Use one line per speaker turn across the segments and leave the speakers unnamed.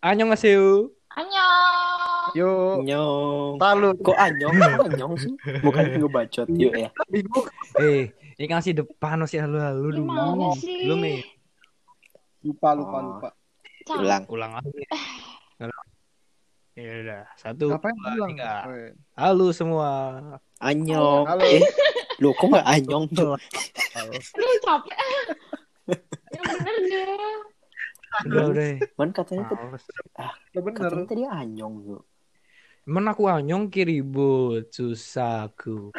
안녕하세요.
Annyeong.
Yuk,
Nyong.
talu.
Kok anyong? Kok anyong sih? Bukan ngebacot yuk ya.
Bingung.
Eh, ini kan masih depan masih halu-halu dulu.
Gimana sih?
Belum eh. nih.
Lupa, lupa, lupa.
Cang-
Ulang.
Ulang
Eh.
lagi. Ulang. Ya udah, satu,
Ngapain
dua,
pulang?
tiga.
Weh.
Halo semua.
Anyong.
Halo.
Eh, lo kok nggak anyong? Cuk?
Aduh, capek. ya bener deh.
Udah, udah. eh.
Man katanya tuh
Males.
Ya bener.
katanya tadi anyong yuk.
Emang aku anyong kiribut susahku.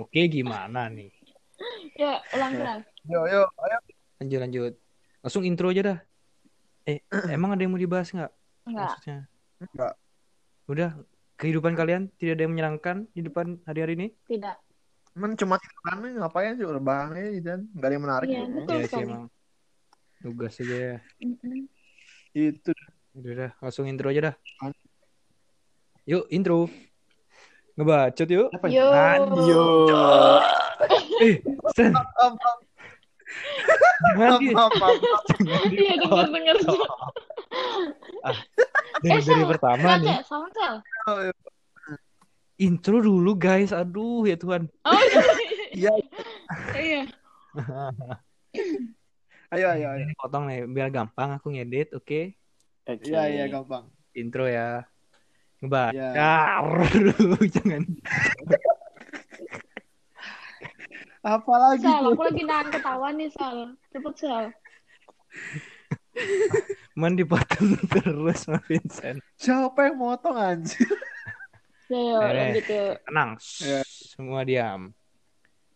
Oke, gimana nih?
Ya, ulang ulang.
Yo, yo, ayo.
Lanjut, lanjut. Langsung intro aja dah. Eh, emang ada yang mau dibahas nggak?
Enggak.
Maksudnya?
Nggak.
Udah, kehidupan kalian tidak ada yang menyenangkan di depan hari-hari ini?
Tidak.
Men cuma rebahan ngapain sih rebahan aja dan nggak ada yang menarik. gitu.
Iya,
Yuk.
betul
Ya sih
sekali.
emang. Tugas aja ya.
Mm-mm.
Itu.
Udah dah, langsung intro aja dah. Yuk, intro. Ngebacot yuk.
Apa ya?
Yo.
Yo.
Eh, Stan,
Apa, apa,
jangan di-
apa, apa, apa.
Iya,
Oh,
denger denger.
dari, dari Sal,
Sama
pertama nih.
Cel, sama Cel.
Intro dulu guys, aduh ya Tuhan.
Oh
Iya.
iya.
Ayo, ayo, ayo.
Ini potong nih, biar gampang aku ngedit, oke?
Oke.
Iya, iya, gampang.
Intro ya. Ngebacot.
Iya.
jangan.
Apalagi
Sel,
tuh.
aku lagi nahan ketawa nih, Sel. Cepet, Sel.
Man dipotong terus sama Vincent.
Siapa yang motong anjir?
Ya, ya, ulang
Eh.
gitu.
Tenang,
Iya.
semua diam.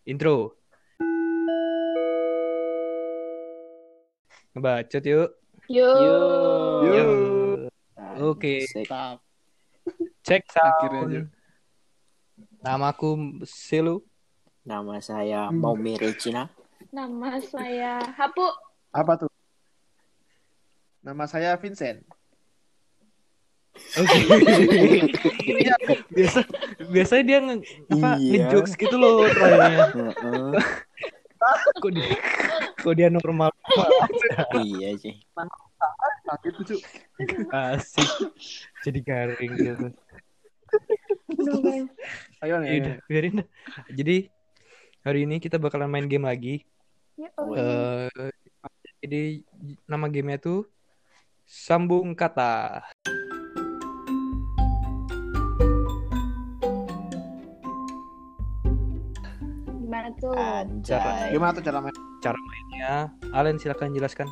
Intro. Ngebacot yuk.
Yo.
Yo.
Yo.
à,
Oke.
Sek.
Tap.
Cek
Akhirnya aja.
sound. Namaku Silu.
Nama saya Maumi Regina.
Nama saya Hapu.
Apa tuh? Nama saya Vincent. Oh,
Oke.
iya.
Iya. biasa biasanya dia nge, apa
Iya.
ngejokes gitu loh terakhirnya.
Heeh.
Kok dia kok dia normal
Iya sih.
Nah, gitu, Cuk.
asik. Jadi garing gitu.
Eh.
Aduh, guys.
Ya
Ayo
udah,
nih.
biarin dah. Jadi hari ini kita bakalan main game lagi.
Ya,
Wah.
Allah.
Eh, jadi nama gamenya tuh Sambung Kata.
Gimana tuh?
Ah.
Dạ.
Anjay.
Gimana tuh cara main?
Cara mainnya, Ya, Alen silakan jelaskan.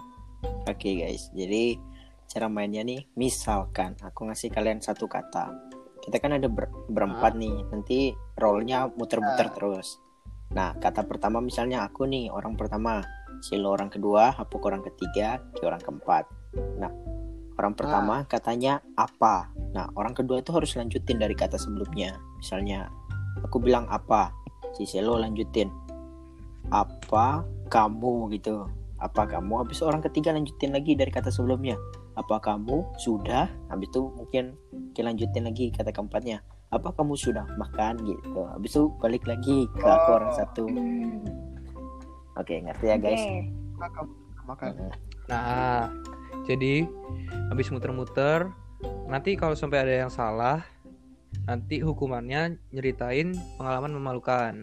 Oke guys, jadi cara mainnya nih, misalkan aku ngasih kalian satu kata, kita kan ada ber- berempat nih, nanti rollnya
Ah.
muter-muter terus. Nah kata pertama misalnya aku nih orang pertama, Silo orang kedua, Hapuk orang ketiga, Ki orang keempat. Nah orang pertama katanya apa? Nah orang kedua itu harus lanjutin dari kata sebelumnya. Misalnya aku bilang apa, si Silo lanjutin apa kamu gitu apa kamu habis orang ketiga lanjutin lagi dari kata sebelumnya apa kamu sudah habis itu mungkin kita lanjutin lagi kata keempatnya apa kamu sudah makan gitu habis itu balik lagi ke aku
Oh.
orang satu
Hmm.
oke ngerti ya guys
Oke.
Makan. Makan.
Heeh.
Nah, jadi habis muter-muter, nanti kalau sampai ada yang salah, nanti hukumannya nyeritain pengalaman memalukan.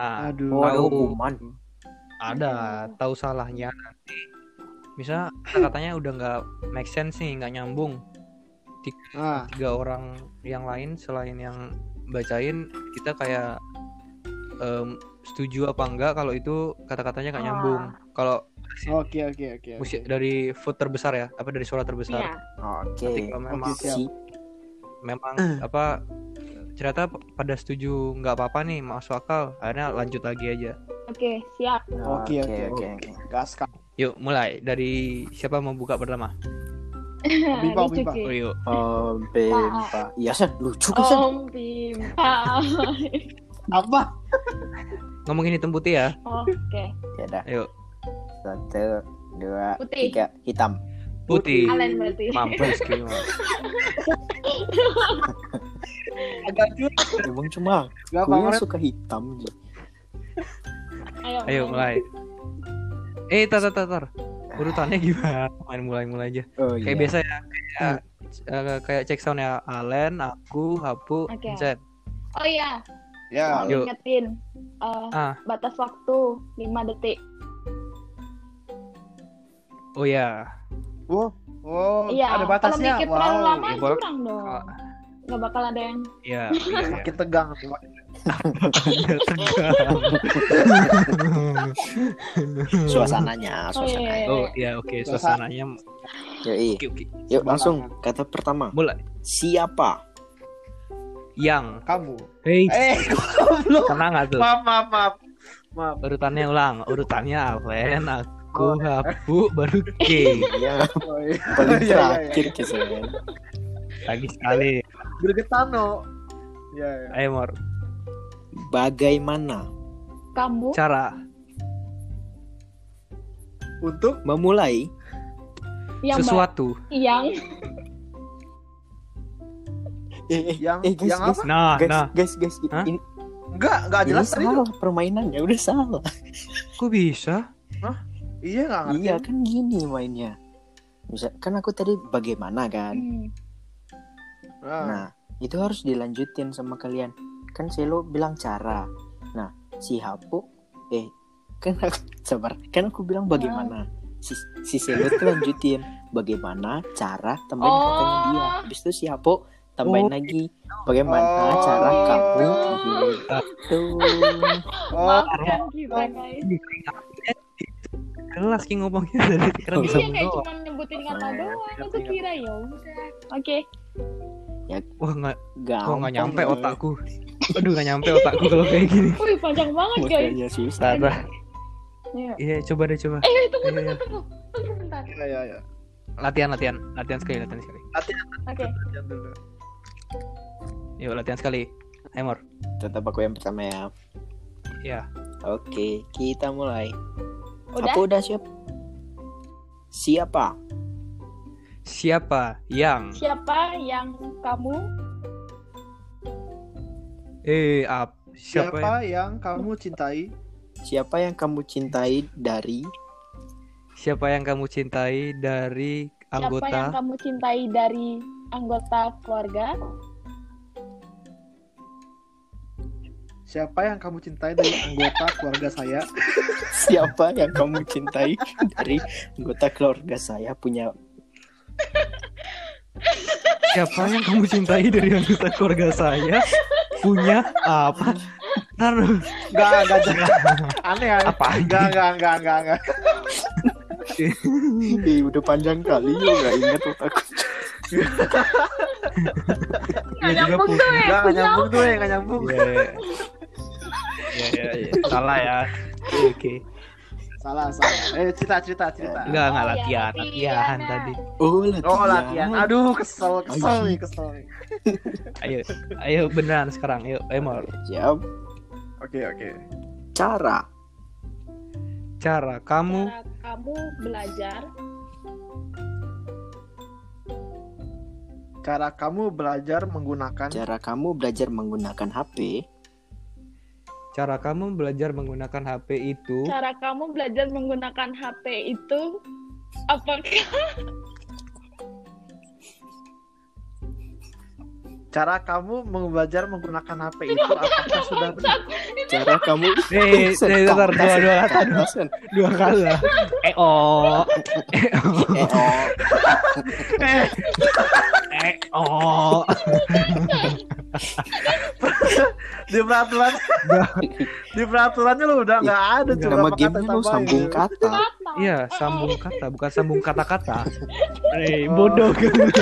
Nah,
Aduh.
oh ada
Tahu.
hukuman
ada tahu salahnya nanti. Misal katanya udah nggak make sense nih, nggak nyambung.
Ah,
Tiga orang yang lain selain yang bacain, kita kayak em, setuju apa enggak kalau itu kata-katanya nggak nyambung. Kalau
oke, oke, oke. oke.
musik dari vote terbesar ya, apa dari suara terbesar.
Iya.
oke
Tapi kalau memang
Oke, siap.
si
memang apa ternyata p- pada setuju nggak apa-apa nih masuk akal akhirnya lanjut lagi aja
Oke, siap.
Oke, oke, oke. Gas kan.
yuk mulai dari siapa mau buka pertama
Bimpa,
Lucu,
bimpa.
Ki.
oh, yuk
Om Pempa iya San
Oh.
lucu kan San?
Om Bimpa.
Apa?
ngomongin hitam putih ya
Oke,
ya dah
Ayo.
satu dua
Putih.
tiga hitam
putih
Alen berarti.
mampus Ki, mampus.
Agak cuy.
emang cuma
Gak
aku yang suka hitam
Ayo,
ayo mulai eh tar tar tar, tar. urutannya gimana main mulai-mulai aja
Oh,
kayak biasa ya kayak eh, kayak check sound ya Alen aku Hapu
Oke.
Vincent
Oh iya,
Ya,
Yuk.
ingetin eh,
Ah.
batas waktu 5 detik.
oh ya
wow, wow,
iya,
oh, ada
kalau
batasnya.
mikir terlalu
Wow,
lama
ya boleh.
curang dong.
Ah.
Nggak bakal ada yang
ya iya,
makin tegang.
iya.
Hmm. Suasananya,
Oh, iya,
suasananya.
iya.
oh ya oke suasananya
Yoi.
oke oke
Yuk langsung kata pertama.
mulai
Siapa?
yang
Kamu.
hey
Eh, goblok.
tenang nggak tuh
Maaf, maaf, maaf. Maaf.
urutannya ulang urutannya Alen aku Hapu baru K
Iya.
Oh, iya.
Paling
Iya, iya,
terakhir
iya.
kesenangan.
lagi sekali
Gregetan, no. Iya, iya.
ayo Mor
Bagaimana
kamu
cara
Untuk
memulai
yang ba-
sesuatu
yang
eh, eh,
yang
eh, guys,
yang
guys,
apa?
nah
guys,
nah
guys, guys, ini-
Hah?
ini,
Enggak, enggak
ini
jelas tadi. tuh.
salah permainannya udah salah.
kok bisa
Iya, enggak ngerti.
Iya kan gini mainnya. Misal, kan aku tadi bagaimana kan.
hmm,
Nah,
Nah itu harus dilanjutin sama kalian. Kan Selo bilang cara. Nah si Hapu eh kan aku sabar. Kan aku bilang bagaimana. Si, si Selo tuh lanjutin bagaimana cara
Oh.
tambahin katanya dia. Habis itu si Hapu tambahin
Oh.
lagi bagaimana
Oh.
cara kamu gitu.
oh,
maafkan kita guys.
kelas ki ngomongnya dari sekarang bisa
Iya kayak
menolak
cuma nyebutin kata
Nah,
doang, aku kira ya udah. Oke,
wah nggak
Gampang.
Kok nggak nyampe Oh, otakku? Aduh nggak nyampe otakku kalau kayak gini.
wih panjang
Oh,
banget guys.
Makanya susah.
Tara.
Iya.
Iya coba deh coba.
Eh tunggu
Iya,
tunggu
iya.
tunggu, tunggu bentar.
iya, iya, iya.
Latihan latihan latihan sekali latihan sekali.
Oke,
Lihat dulu.
Yuk latihan sekali. Emor.
Tetap aku yang pertama ya.
Iya.
Oke, kita mulai.
udah.
Aku udah siap. Siapa?
Siapa yang?
Siapa yang kamu
Eh up. Siapa?
Siapa
yang-
yang kamu cintai?
Siapa yang kamu cintai dari
Siapa yang kamu cintai dari
Siapa yang
anggota?
kamu cintai dari anggota keluarga?
Siapa yang kamu cintai dari anggota keluarga saya?
siapa yang kamu cintai dari anggota keluarga saya punya
Siapa yang kamu cintai dari anggota keluarga saya? Punya apa? Taruh.
Enggak, enggak jelas. Aneh, aneh.
Apa?
Enggak, enggak, enggak, enggak, enggak.
Ih, udah panjang kali ya nggak ingat otakku
Dia juga punya.
Enggak, enggak nyambung tuh, eh, enggak nyambung.
Iya. Iya, iya, iya. Salah ya. Oke.
Salah, salah. Eh, cerita, cerita, cerita.
Enggak enggak
Oh, iya,
latihan
latihan.
latihan tadi.
oh latihan,
Oh, latihan. Aduh, kesel, kesel nih, kesel nih.
Ayo, ayo beneran sekarang. Yuk, Emor.
siap
Oke, oke.
cara
Cara kamu
Cara kamu belajar
Cara kamu belajar menggunakan
cara kamu belajar menggunakan HP
cara kamu belajar menggunakan HP itu
cara kamu belajar menggunakan HP itu apakah
cara kamu belajar menggunakan HP itu apakah sudah benar?
cara kamu
Eh, eh, bentar, dua dua kata dua, dua kali lah. Eh oh, eh oh,
eh
eh oh.
oh
Di peraturan Di peraturannya lu udah nggak ada tuh
nama
berapa kata
gamenya lo
tambahin.
sambung kan? kata
kata? Ah,
Iya, sambung kata, bukan sambung kata-kata. Eh,
Oh.
bodoh kan?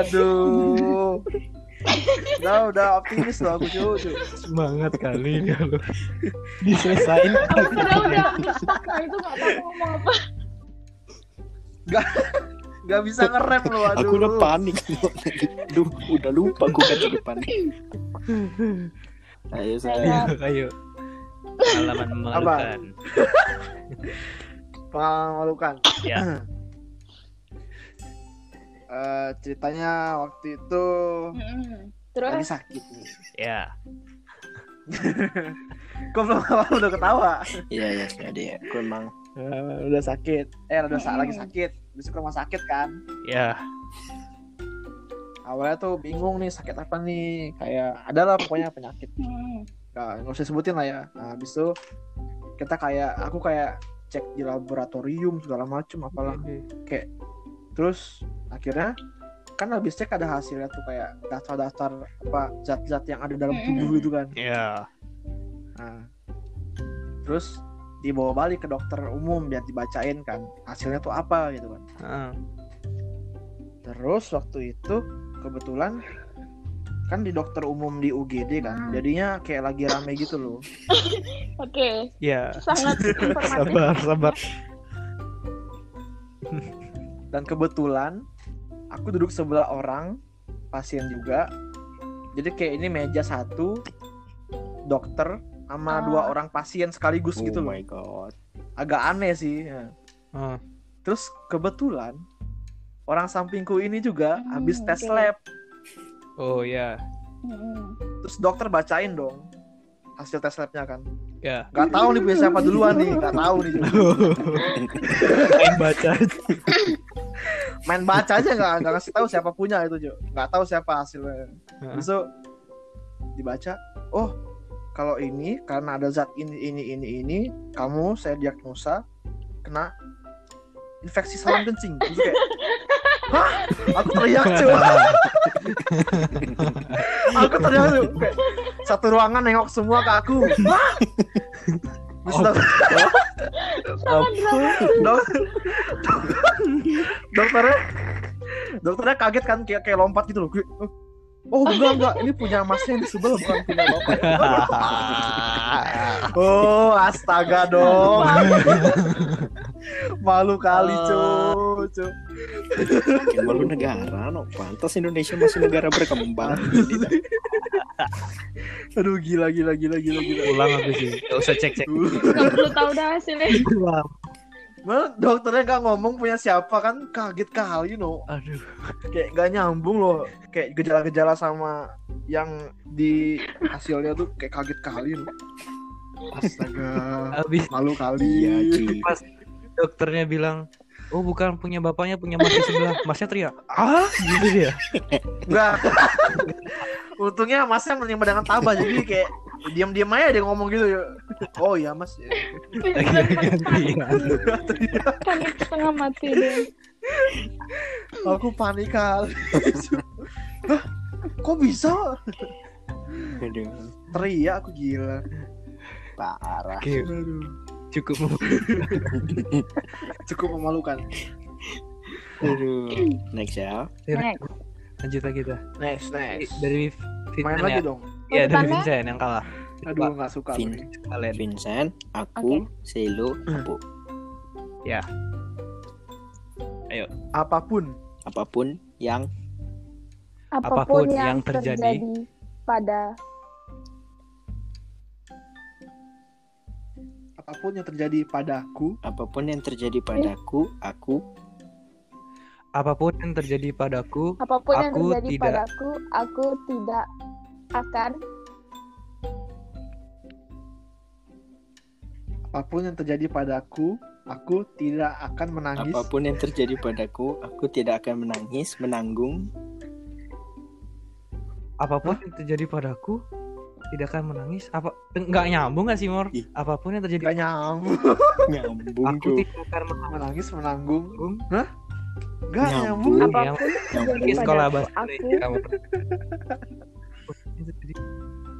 Aduh. Udah, udah optimis loh aku cuy. cuy.
Semangat kali dia lo. Diselesain.
Aku udah udah udah stuck lah itu nggak tahu ngomong apa.
Nggak bisa ngerem lu aduh.
aku udah panik Duh, udah lupa aku kata depan ayo
Ayo,
saya
Iya, ayo. Pengalaman memalukan.
Pengalaman memalukan.
Ya.
Eh, ceritanya waktu itu
Mm-mm. Terus
lagi sakit nih.
Ya.
Kok belum awal udah ketawa?
Iya, iya, iya, deh. Aku emang
Eh, udah sakit. Eh, udah sa-
Mm-mm.
lagi sakit. Besok ke rumah sakit kan.
Ya.
Awalnya tuh bingung nih sakit apa nih. Kayak adalah pokoknya penyakit.
Hmm.
Nggak, nggak usah sebutin lah ya. Nah, habis itu kita kayak aku kayak cek di laboratorium segala macem apalah. Terus akhirnya kan habis cek ada hasilnya tuh kayak daftar-daftar apa zat-zat yang ada dalam tubuh
Mm-mm.
itu kan.
Ya.
Nah, terus dibawa balik ke dokter umum biar dibacain kan hasilnya tuh apa gitu kan.
Heeh.
Terus waktu itu kebetulan kan di dokter umum di UGD kan,
Hmm.
jadinya kayak lagi rame gitu loh.
Oke,
Ya.
sangat informatif.
Sabar, sabar.
Dan kebetulan aku duduk sebelah orang pasien juga. Jadi kayak ini meja satu dokter
Ah.
sama dua orang pasien sekaligus gitu
oh
loh.
my god.
Agak aneh sih. ya.
Heeh.
Terus kebetulan orang sampingku ini juga
Hmm,
habis tes
oke.
lab.
Oh ya.
Hmm.
Terus dokter bacain dong hasil tes labnya kan.
Ya.
Gak tahu nih punya siapa duluan nih, gak tahu nih.
Main baca.
Main baca aja gak, nggak ngasih tahu siapa punya itu, Jo. Gak tahu siapa hasilnya.
Heeh.
Terus tuh dibaca, oh kalau ini karena ada zat ini ini ini ini, kamu saya diagnosa kena infeksi saluran kencing. Terus kayak, Hah? Aku teriak cuy. aku teriak tuh kayak, satu ruangan nengok semua ke aku. Hah? Terus
Oh.
dok-
Sangat dramatis.
dok- dokternya dokternya kaget kan kayak kayak lompat gitu loh. Gue, Oh enggak enggak ini punya masnya yang di sebelah bukan punya bapak. Oh astaga dong. Malu kali cuy. cuy.
Makin malu negara, no. Pantas Indonesia masih negara berkembang.
Aduh gila gila gila gila gila.
Pulang aku sih. Gak usah cek-cek.
Nggak perlu tahu dah hasilnya.
Pulang.
Malah dokternya nggak ngomong punya siapa kan kaget kali no
Aduh.
kayak gak nyambung loh kayak gejala-gejala sama yang di hasilnya tuh kayak kaget kali no. astaga
Habis
malu kali
Iya, Ci.
dokternya bilang, "Oh, bukan punya bapaknya, punya masnya sebelah." Masnya teriak, "Ah!" gitu dia.
Nggak. untungnya masnya menerima dengan tabah jadi kayak diam-diam aja dia ngomong gitu oh iya mas
Gantian.
Panik Kan setengah mati deh.
aku panik kali Hah? kok bisa
Aduh,
teriak aku gila
parah.
Oke,
Aduh.
cukup
cukup memalukan
Aduh. Next ya.
Next.
lanjut lagi dah.
next next
Dari
main
Vincent
lagi
ya.
dong
Iya, dari
Urutannya?
Vincent yang kalah.
aduh nggak suka
Fin.
gue.
Kalian.
Vincent, aku, Selo, Abu.
apapun
Apapun yang
Apapun,
Apapun
yang,
yang terjadi.
terjadi, pada
apapun yang terjadi padaku
apapun yang terjadi padaku, aku
Apapun yang terjadi padaku,
apapun yang
Aku
terjadi
tidak-
padaku, aku tidak akan
apapun yang terjadi padaku aku tidak akan menangis
apapun yang terjadi padaku, aku tidak akan menangis, menanggung,
apapun yang terjadi padaku, tidak akan menangis. Apa enggak nyambung gak sih, Mor?
Ih.
Apapun yang terjadi
gak nyambung
nyambung
aku
tuh.
tidak akan
menangis menanggung
menanggung.
gak nyambung
Nyambung.
Iya,
apapun yang
yang
terjadi
Di
Pada
sekolah
padaku,
bahasa
aku
Indonesia, Mor. Jadi,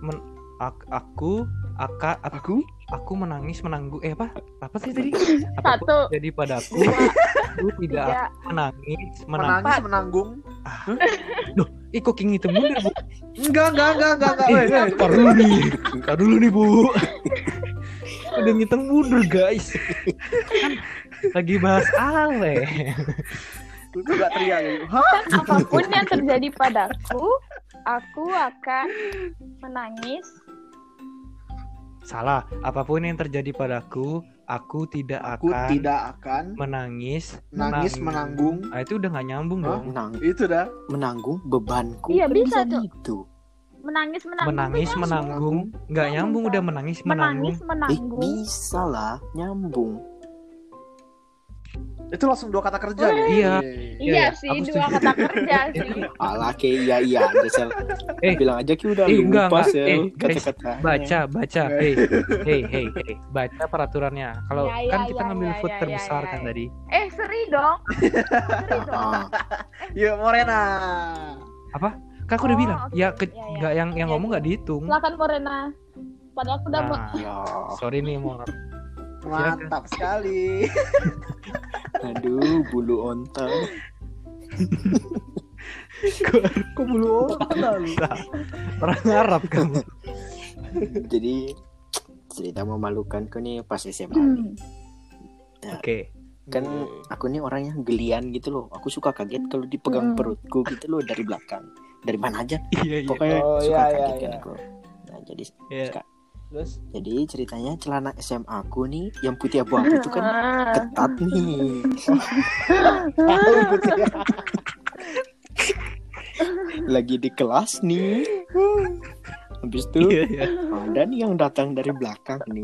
men- ak- aku aka, apa-
aku
aku menangis menanggung eh apa apa sih tadi apapun
satu
jadi padaku
Iya.
dua
aku tidak
tiga
menangis menangis
menangis menanggung
eh cooking itu mundur bu
enggak enggak enggak enggak enggak
Eh,
weh, weh.
tar dulu nih tar dulu nih bu udah ngitung mundur guys Kan lagi bahas ale
Lu tuh gak teriak ya. Hah?
apapun yang terjadi padaku aku akan menangis
salah apapun yang terjadi padaku aku tidak
aku
akan
tidak akan
menangis
menangis menanggung
ah itu udah nggak nyambung
Hah?
dong
Menang,
itu dah
menanggung bebanku.
Iya,
Kan
bisa tuh.
gitu.
menangis menangis
menangis
menangis
menanggung nggak nyambung udah menangis menanggung
menangis
Eh,
menanggung
bisa lah, nyambung.
Itu langsung dua kata
Wah.
kerja. gitu.
Iya.
Iya
Iya,
sih,
aku
dua
setuju.
kata kerja sih.
Alah ke iya iya aja sel.
Eh,
bilang aja ki udah
eh, enggak,
lupa
enggak. Eh,
sel
guys,
kata-kata.
baca baca
Iya.
hey hey hey hey baca peraturannya kalau
Ya, ya,
kan kita
ya,
ngambil
ya,
food
ya,
terbesar
ya,
kan
ya.
tadi
Eh, seri dong. Seri dong.
Ah,
Yuk Iya, Morena.
kan aku udah
Oh,
bilang
oke.
ya ke-
Ya, ya.
nggak yang yang
Ya,
ngomong
ya.
nggak dihitung
Silakan Morena. Padahal aku udah mau
nah
ya.
sorry nih mau
Mantap sekali.
Aduh, bulu onta.
Kok bulu orang lu?
orang Arab kamu
Jadi cerita memalukanku nih pas SMA. nih.
Hmm.
oke
Kan aku nih orangnya gelian gitu loh. Aku suka kaget kalau
Hmm.
dipegang
Mm.
perutku gitu loh dari belakang. Dari mana aja
iya iya
pokoknya
Oh,
suka
iya,
kaget
iya,
kan
iya.
aku. Nah, jadi
Iya.
suka.
Terus
Jadi ceritanya celana SMA aku nih yang putih abu-abu itu kan ketat nih.
tahu gitu ya.
Lagi di kelas nih. Habis itu
iya iya
ada nih Oh, yang datang dari belakang nih.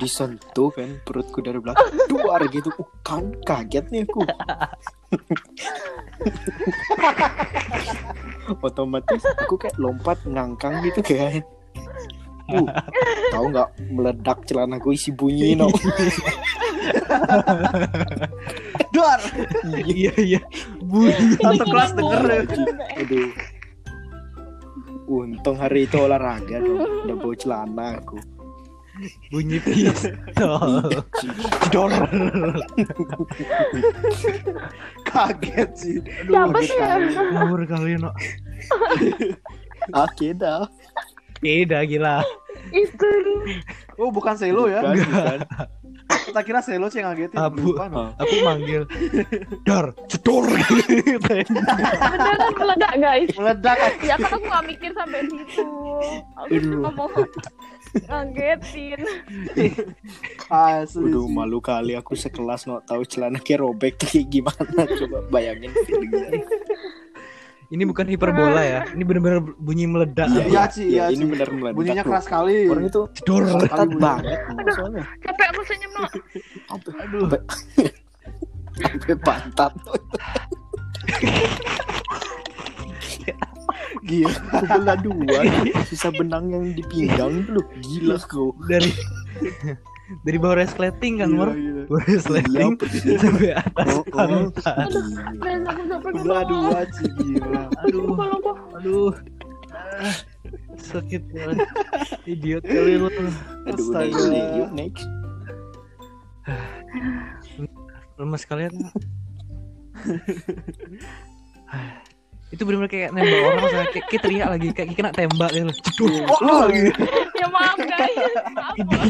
Disentuh kan perutku dari belakang Duar gitu Uh, Kan kaget nih aku Otomatis aku kayak lompat nangkang gitu kan Uh, tahu nggak meledak celana gue isi bunyi no
Dor.
iya iya bunyi
Satu kelas denger.
Iya, Aduh. Untung hari itu olahraga dong. Udah bawa celana aku.
bunyi Oh. pistol
Dor.
Kaget sih.
Siapa sih?
ngawur kalian no.
Oke dah.
beda gila
Itu.
Oh bukan selo ya?
Bukan, bukan. Oh.
Kita kira selo sih yang ngagetin.
Abu.
Bukan.
aku manggil dar cedor
Beneran meledak, guys.
Meledak.
Ya kan aku gak mikir sampai situ. Aku cuma mau ngagetin.
Asli. sih.
Aduh malu kali aku sekelas nggak tahu celana kayak robek tuh kayak gimana. Coba bayangin feelingnya.
ini bukan hiperbola ya ini benar-benar bunyi meledak
Iya, Ci, iya,
ini
Ci.
benar meledak.
Bunyinya
tuh.
keras sekali.
Orang itu
cedor
ketat
bunyinya.
banget soalnya.
Capek aku senyum, no.
Sampai- Sampai pantat. Gila, aku belah dua.
Iya,
Sisa benang yang di pinggang dulu. Gila kau.
dari dari bawah resleting kan mor
Gila,
bawah resleting sampai atas
Oh, oh.
pantat
Gila.
Guys, aku capek. aku
gila. Belah
mau.
dua sih gila.
aduh
Lupa, lupa.
aduh Ah, sakit banget idiot kali lu
Aduh, udah
Astaga.
ini. Yuk, next.
lemes kalian Ah, itu benar-benar kayak nembak orang saya kayak, kayak teriak lagi kayak kayak kena tembak gitu Cedur.
Wah, lagi.
Ya maaf, guys. Maaf.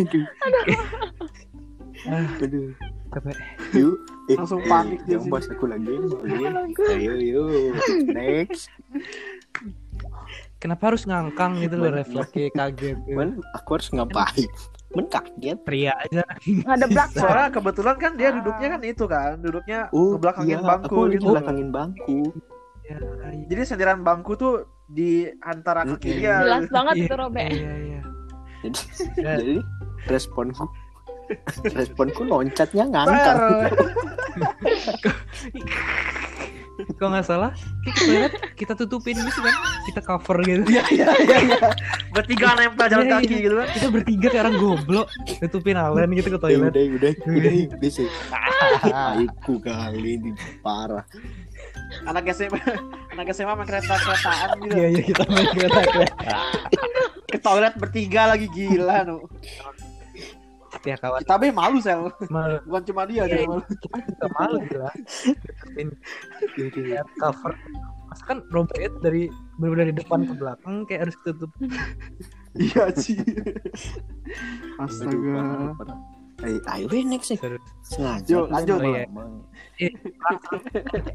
Idiot.
Aduh.
Ah,
Aduh.
capek
Yuk. Eh,
Langsung
eh,
panik dia
Jangan
sih.
bahas aku lagi. Malu.
Aku-
Ayo, yuk. Next.
kenapa harus ngangkang gitu loh refleks kayak kaget gitu.
Man, aku harus ngapain? Men kaget.
teriak aja
Ada belakang.
Soalnya kebetulan kan dia duduknya kan itu kan, duduknya
Oh,
ngebelakangin
iya,
bangku
aku
gitu.
ngebelakangin bangku.
Iya,
Jadi sendiran bangku tuh di antara
Mm-mm.
kaki dia.
Jelas banget
iya,
itu, ya. Robek.
iya iya
Jadi,
Ya.
jadi responku responku loncatnya
Ter.
ngangkang.
kalau nggak salah kayak ke toilet kita tutupin gitu kan kita cover gitu
Iya iya iya. iya. Bertiga nempel jalan
Iya, iya.
kaki gitu kan. Iya.
kita bertiga kayak orang goblok tutupin alen gitu ke
Eh,
toilet
udah, udah, udah, udah sih. Aku kali ini parah.
Anak SMA, anak SMA main kereta keretaan gitu.
iya iya kita main kereta
Ke toilet bertiga lagi gila nu.
ya kawan
Kita be malu sel,
malu
bukan cuma dia aja
Iya.
yang malu. gitu
kita juga malu gila tutupin kayak cover Mas kan robet dari benar dari depan ke belakang kayak harus tutup
Iya sih.
Aduh, parah,
Astaga.
parah. Eh, ayo eh, next sih.
terus
Sengaja.
Yuk,
kan,
lanjut. Oh,
Bang.
Iya.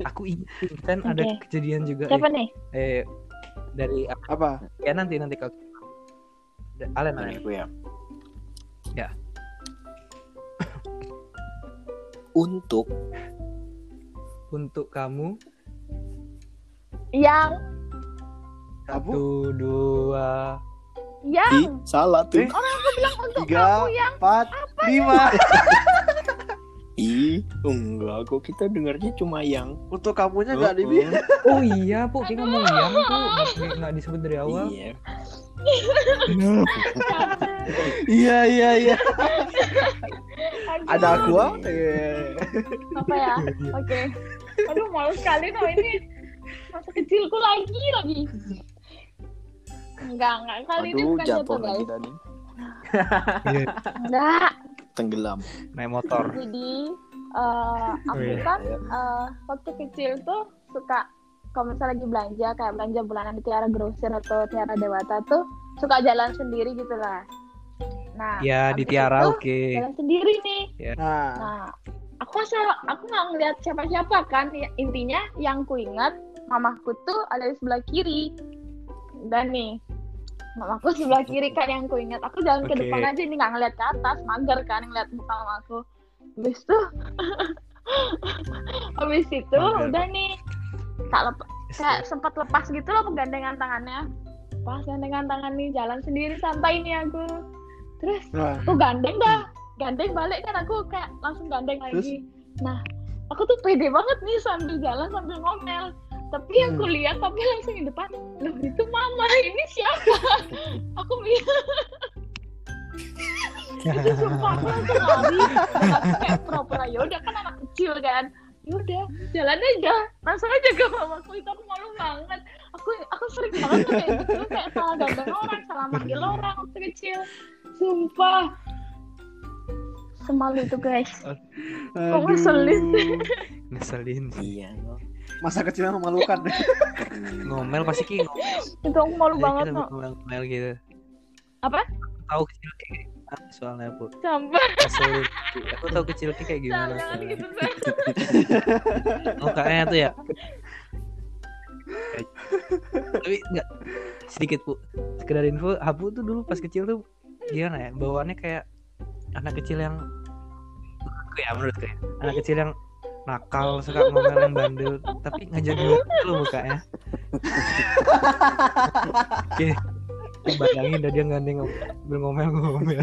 aku ingat kan ada
Oke.
kejadian juga
Siapa nih?
eh, eh, dari
Apa?
ya nanti nanti kalau Da- Alen
Mana
Alen
aku ya?
Ya.
Untuk
untuk kamu
Yang
Abu?
satu dua
Ih,
Yang
salah tuh.
Eh?
untuk
tiga,
kamu yang ya?
empat, lima.
Ih, enggak kok kita dengarnya cuma yang.
Untuk kamunya nggak
Oh,
dibilang.
Oh iya, Puk. Kita ngomong yang, Puk. Nggak- Nggak disebut dari awal.
Iya.
Iya iya iya.
Aduh,
Ada aku ah.
ya?
Eh.
apa ya? Oke. Aduh malu sekali no ini masa kecilku lagi lagi. Enggak enggak kali ini
Aduh,
bukan jatuh
jatuh lagi
guys.
tadi.
Iya,
Enggak.
Tenggelam.
naik motor.
Jadi eh, aku
Iya.
kan eh, waktu kecil tuh suka kalau misalnya lagi belanja kayak belanja bulanan di Tiara Grosir atau Tiara Dewata tuh suka jalan sendiri gitu lah. Nah,
Ya, di
habis
Tiara
itu
oke.
Jalan sendiri nih.
Nah,
Nah, aku asal aku nggak ngeliat siapa-siapa kan. Ya, Intinya yang ku ingat mamaku tuh ada di sebelah kiri. Dan nih, mamaku sebelah kiri kan yang ku ingat. Aku jalan
Oke.
ke depan aja nih nggak ngeliat ke atas, mager kan ngeliat muka mamaku. Habis tuh, habis itu
Mager.
udah nih tak lepas kayak sempat lepas gitu loh penggandengan tangannya pas gandengan tangan nih jalan sendiri santai nih aku terus
nah,
aku gandeng dah gandeng balik kan aku kayak langsung gandeng
Terus?
lagi nah aku tuh pede banget nih sambil jalan sambil ngomel tapi aku lihat tapi langsung di depan loh itu mama ini siapa aku mikir itu sumpah aku langsung lari Aku kayak pura-pura yaudah kan anak kecil kan yaudah jalan aja langsung aja ke mamaku itu aku malu banget aku aku sering banget tuh kayak gitu kayak salah gandeng orang salah manggil orang waktu kecil sumpah semalu itu guys
aduh.
ngeselin?
Ngeselin.
Iya. no.
Masa kecilnya memalukan.
Ngomel pasti ki ngomel
itu aku malu
Kita
banget no
ngomel, ngomel gitu.
Apa?
Aku Tahu kecil Ki, kayak gimana soalnya aku.
sampai
Ngeselin. Ki. Aku tahu kecil Ki kayak gimana.
jangan
soalnya.
gitu Sam.
mukanya tuh ya tapi nggak sedikit bu sekedar info Habu tuh dulu pas kecil tuh gimana ya bawaannya kayak anak kecil yang menurutku ya menurutku ya anak kecil yang nakal suka ngomel yang bandel tapi ngajak gue lu mukanya oke bayangin dah dia gandeng sambil ngomel-ngomel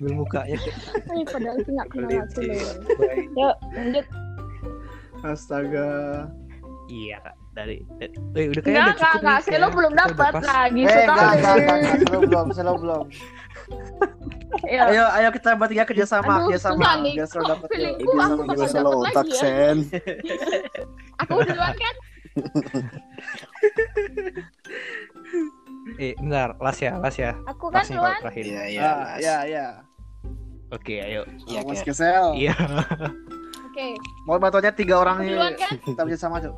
sambil mukanya kayak
Eh, padahal sih nggak kenal
Ngeselin sih.
aku loh
Baik.
yuk lanjut
Astaga.
Iya kak dari, dari eh, udah kayaknya
nggak
udah
nggak
cukup
nggak
nih, kayaknya.
selo belum
Kita udah
dapat
pas.
nah gitu
Eh, enggak, enggak,
kali
enggak, enggak. Selalu belum, selalu belum.
Iya.
Ayo, ayo kita bertiga kerjasama,
Aduh,
kerjasama.
susah nih.
Biar
Kok
selalu ya. Gitu. dapet
feeling-
yuk.
Eh,
Aku-
biasa
aku
juga
bakal
salah
dapet
otak,
lagi ya.
Sen.
aku duluan kan
Eh, bentar, las ya, las ya.
aku kan
Las nih kalau
duluan
terakhir.
Iya, iya.
Ah,
Iya,
ya, ya.
Oke, ayo.
Iya,
Mas
kayak-
Kesel.
Iya,
oke
Mau batonya tiga
aku
orang nih.
duluan kan
Kita kerjasama cuk.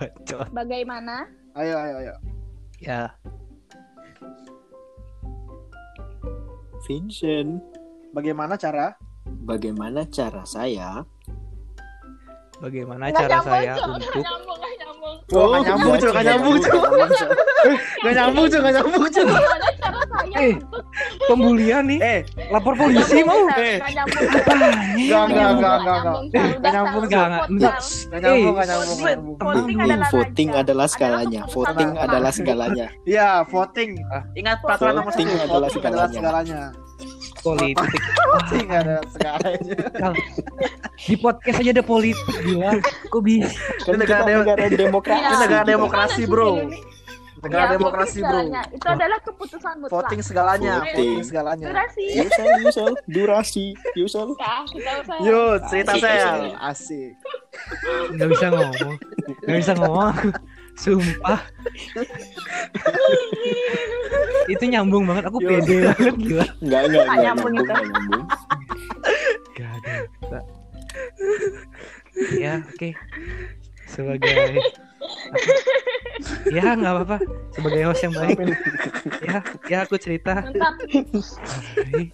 bacot.
bagaimana
Ayo, ayo, ayo.
Ya,
Vincent.
Bagaimana cara?
Bagaimana cara saya?
bagaimana
nggak
cara
nyambung
saya
Cok. nggak
untuk
nyambung nggak nyambung
Oh, nggak nyambung,
iya,
Cuk, nggak nyambung, Cuk. Gak nyambung cuk, gak nyambung cuk.
gimana cara saya
Eh,
untuk
pembulian nih?
Eh,
Lapor polisi mau?
nggak nyambung nggak
enggak, enggak, enggak, enggak,
nggak
enggak. nyambung,
Enggak, enggak,
nyambung Salah, udah,
enggak.
salah,
Gak nyambung, gak
Eh,
nyambung, gak
Voting adalah
nyambung.
Aduh,
raja.
voting adalah
Adalah
skalanya.
keputusan
Voting
bersama.
adalah skalanya.
Iya, voting.
Ah.
Ingat peraturan nomor
Voting
satu.
adalah
Voting adalah
segalanya.
segalanya.
Politik.
Voting adalah segalanya.
Kal. Di podcast aja ada politik, gila. Kok bisa?
Kan
Ini negara
kita
dem-
negara demokrasi. Iya,
Ini
negara
kita.
demokrasi. bro. Negara
Ya,
demokrasi,
voting
bro. Nah,
segalanya. Itu adalah keputusan mutlak.
Voting segalanya,
Voting.
voting segalanya.
Durasi.
Yusel, Yusel, durasi, Yusel.
Ya, kita usah.
Yo, cerita
Asik,
saya asik.
Enggak bisa ngomong. Enggak bisa ngomong. aku. Sumpah. itu nyambung banget, aku
Yo.
pede banget gila.
Enggak, enggak,
Tak
ya?
nyambung
enggak nyambung,
itu.
enggak nyambung.
Gak ada. Gak. Ya, oke. Sebagai Ya, nggak apa-apa. Sebagai host yang baik. Ya, ya aku cerita.
Mantap.
Jadi,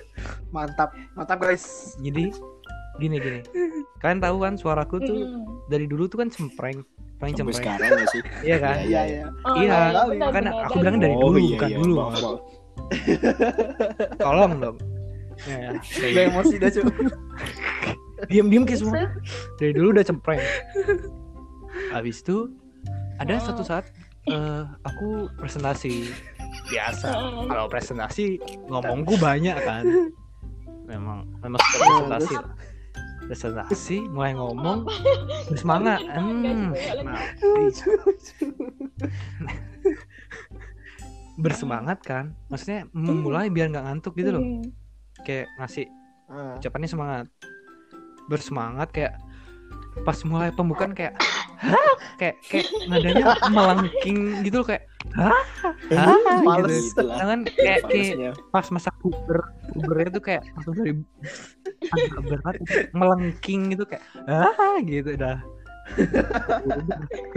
Mantap, mantap guys.
jadi gini gini. Kalian tahu kan suaraku tuh
Mm.
dari dulu tuh kan cempreng, paling
Sampai
cempreng.
sekarang ya sih.
Iya kan?
Iya, iya.
Oh,
Iya,
benar,
makanya
benar.
aku bilang Kan dari
Oh,
dulu
iya,
bukan
iya,
dulu. Gitu.
maaf, maaf.
Tolong dong. Ya,
Udah Iya, emosi dah, Cuk.
diam-diam kayak semua. Nah, dari dulu udah cempreng habis itu ada
Wow.
satu saat eh, aku presentasi biasa
Heeh.
kalau presentasi ngomongku banyak kan memang memang suka presentasi lah. presentasi mulai ngomong terus semangat hmm, nah,
Lucu, lucu.
bersemangat kan maksudnya memulai biar nggak ngantuk gitu loh
Hmm.
kayak ngasih
Ah,
ucapannya semangat bersemangat kayak pas mulai pembukaan kayak kayak kayak nadanya melengking gitu loh kayak Hah?
Males.
Gitu lah.
tangan kayak kayak
Malesnya.
pas masa puber pubernya tuh kayak langsung dari agak berat melengking gitu kayak ah gitu dah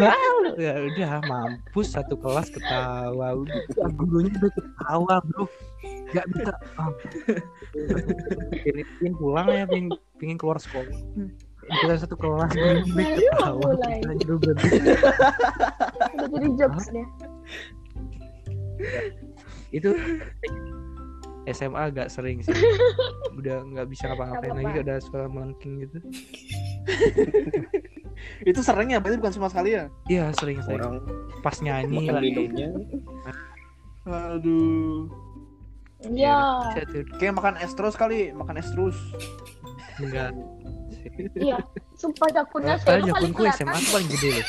Ah, ya udah mampus satu kelas ketawa udah gurunya udah ketawa bro nggak bisa ah. pingin pulang ya pingin, pingin keluar sekolah kita satu kelas gurunya udah
Baru mau
ketawa
mulai.
kita nyuruh berhenti.
Udah jadi jokes deh.
itu SMA agak sering sih udah nggak bisa ngapa-ngapain
Nggak
lagi
apa-apa.
udah suara melengking gitu
Itu sering ya, berarti bukan cuma sekali ya?
iya sering sering
Orang
pas nyanyi
makan
lagi
minumnya.
Aduh.
Iya.
bisa tuh
Kayak makan es terus kali, makan es terus.
enggak
Iya. Sumpah jakunnya
padahal
saya paling
jakunku
kelihatan.
SMA tuh paling gede loh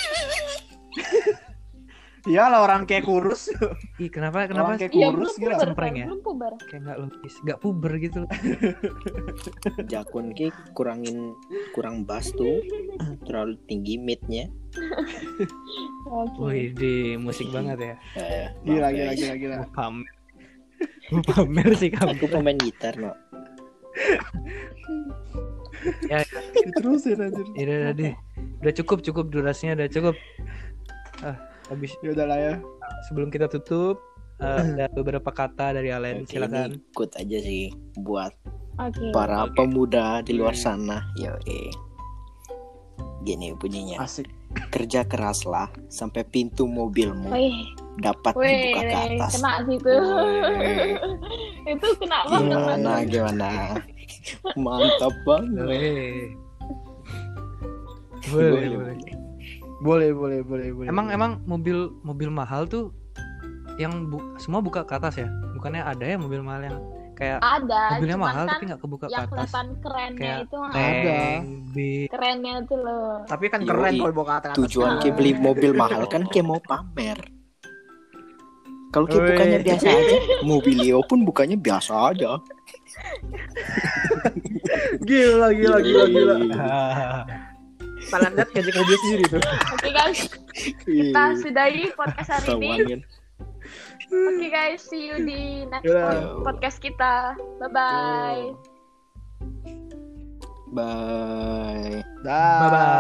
Iyalah orang kayak kurus.
ih kenapa kenapa
Orang kayak
Iya, belum
kurus gila.
puber,
Cempreng
Bang,
ya?
Belum puber.
kayak nggak logis nggak puber gitu loh
Jakun ki kurangin kurang bass tuh terlalu tinggi midnya.
Oke.
wih di musik banget ya
Eh, maaf,
Gila,
guys.
gila, gila, gila.
Gua pamer Iya. Gua pamer sih kamu
Aku pemain gitar no.
Diterusin anjir.
ya udah udah, deh. udah cukup cukup durasinya udah cukup ah habis
Ya udah lah ya.
sebelum kita tutup eh, ada beberapa kata dari Alen
Oke, ini
silakan
Ikut aja sih buat
Oke.
para
Oke.
pemuda di luar
Hmm.
sana. Yo Gini bunyinya.
Asik.
Ah.
Kerja keraslah sampai pintu mobilmu
Wih,
dapat
wih,
dibuka ke
wih,
atas. Iya.
kena sih itu.
Wih.
itu kena banget.
Gimana
Iya.
gimana? Mantap banget.
Boleh.
Boleh,
Boleh,
boleh.
boleh.
Boleh, boleh, boleh, boleh.
Emang emang mobil mobil mahal tuh yang bu- semua buka ke atas ya? Bukannya ada ya mobil mahal yang kayak
Ada.
mobilnya
cuman
mahal
kan
tapi nggak kebuka ke
yang
atas?
kelihatan kerennya
Kayak
itu
Ada.
Tank, bis.
kerennya itu loh.
tapi kan
Yoi.
keren kalau bawa ke atas.
Tujuan
Ah.
ki beli mobil mahal kan ki mau pamer. Kalau ki
Wih.
bukannya biasa aja, Mobilio pun bukannya biasa aja.
Gila, gila, gila, gila. Kalian lihat kerja kerja sendiri tuh.
Oke guys, kita sudahi podcast hari ini.
Tawangan.
Oke guys, see you di next
Dadah.
podcast kita. Bye bye.
Bye.
Dah.
Bye-bye.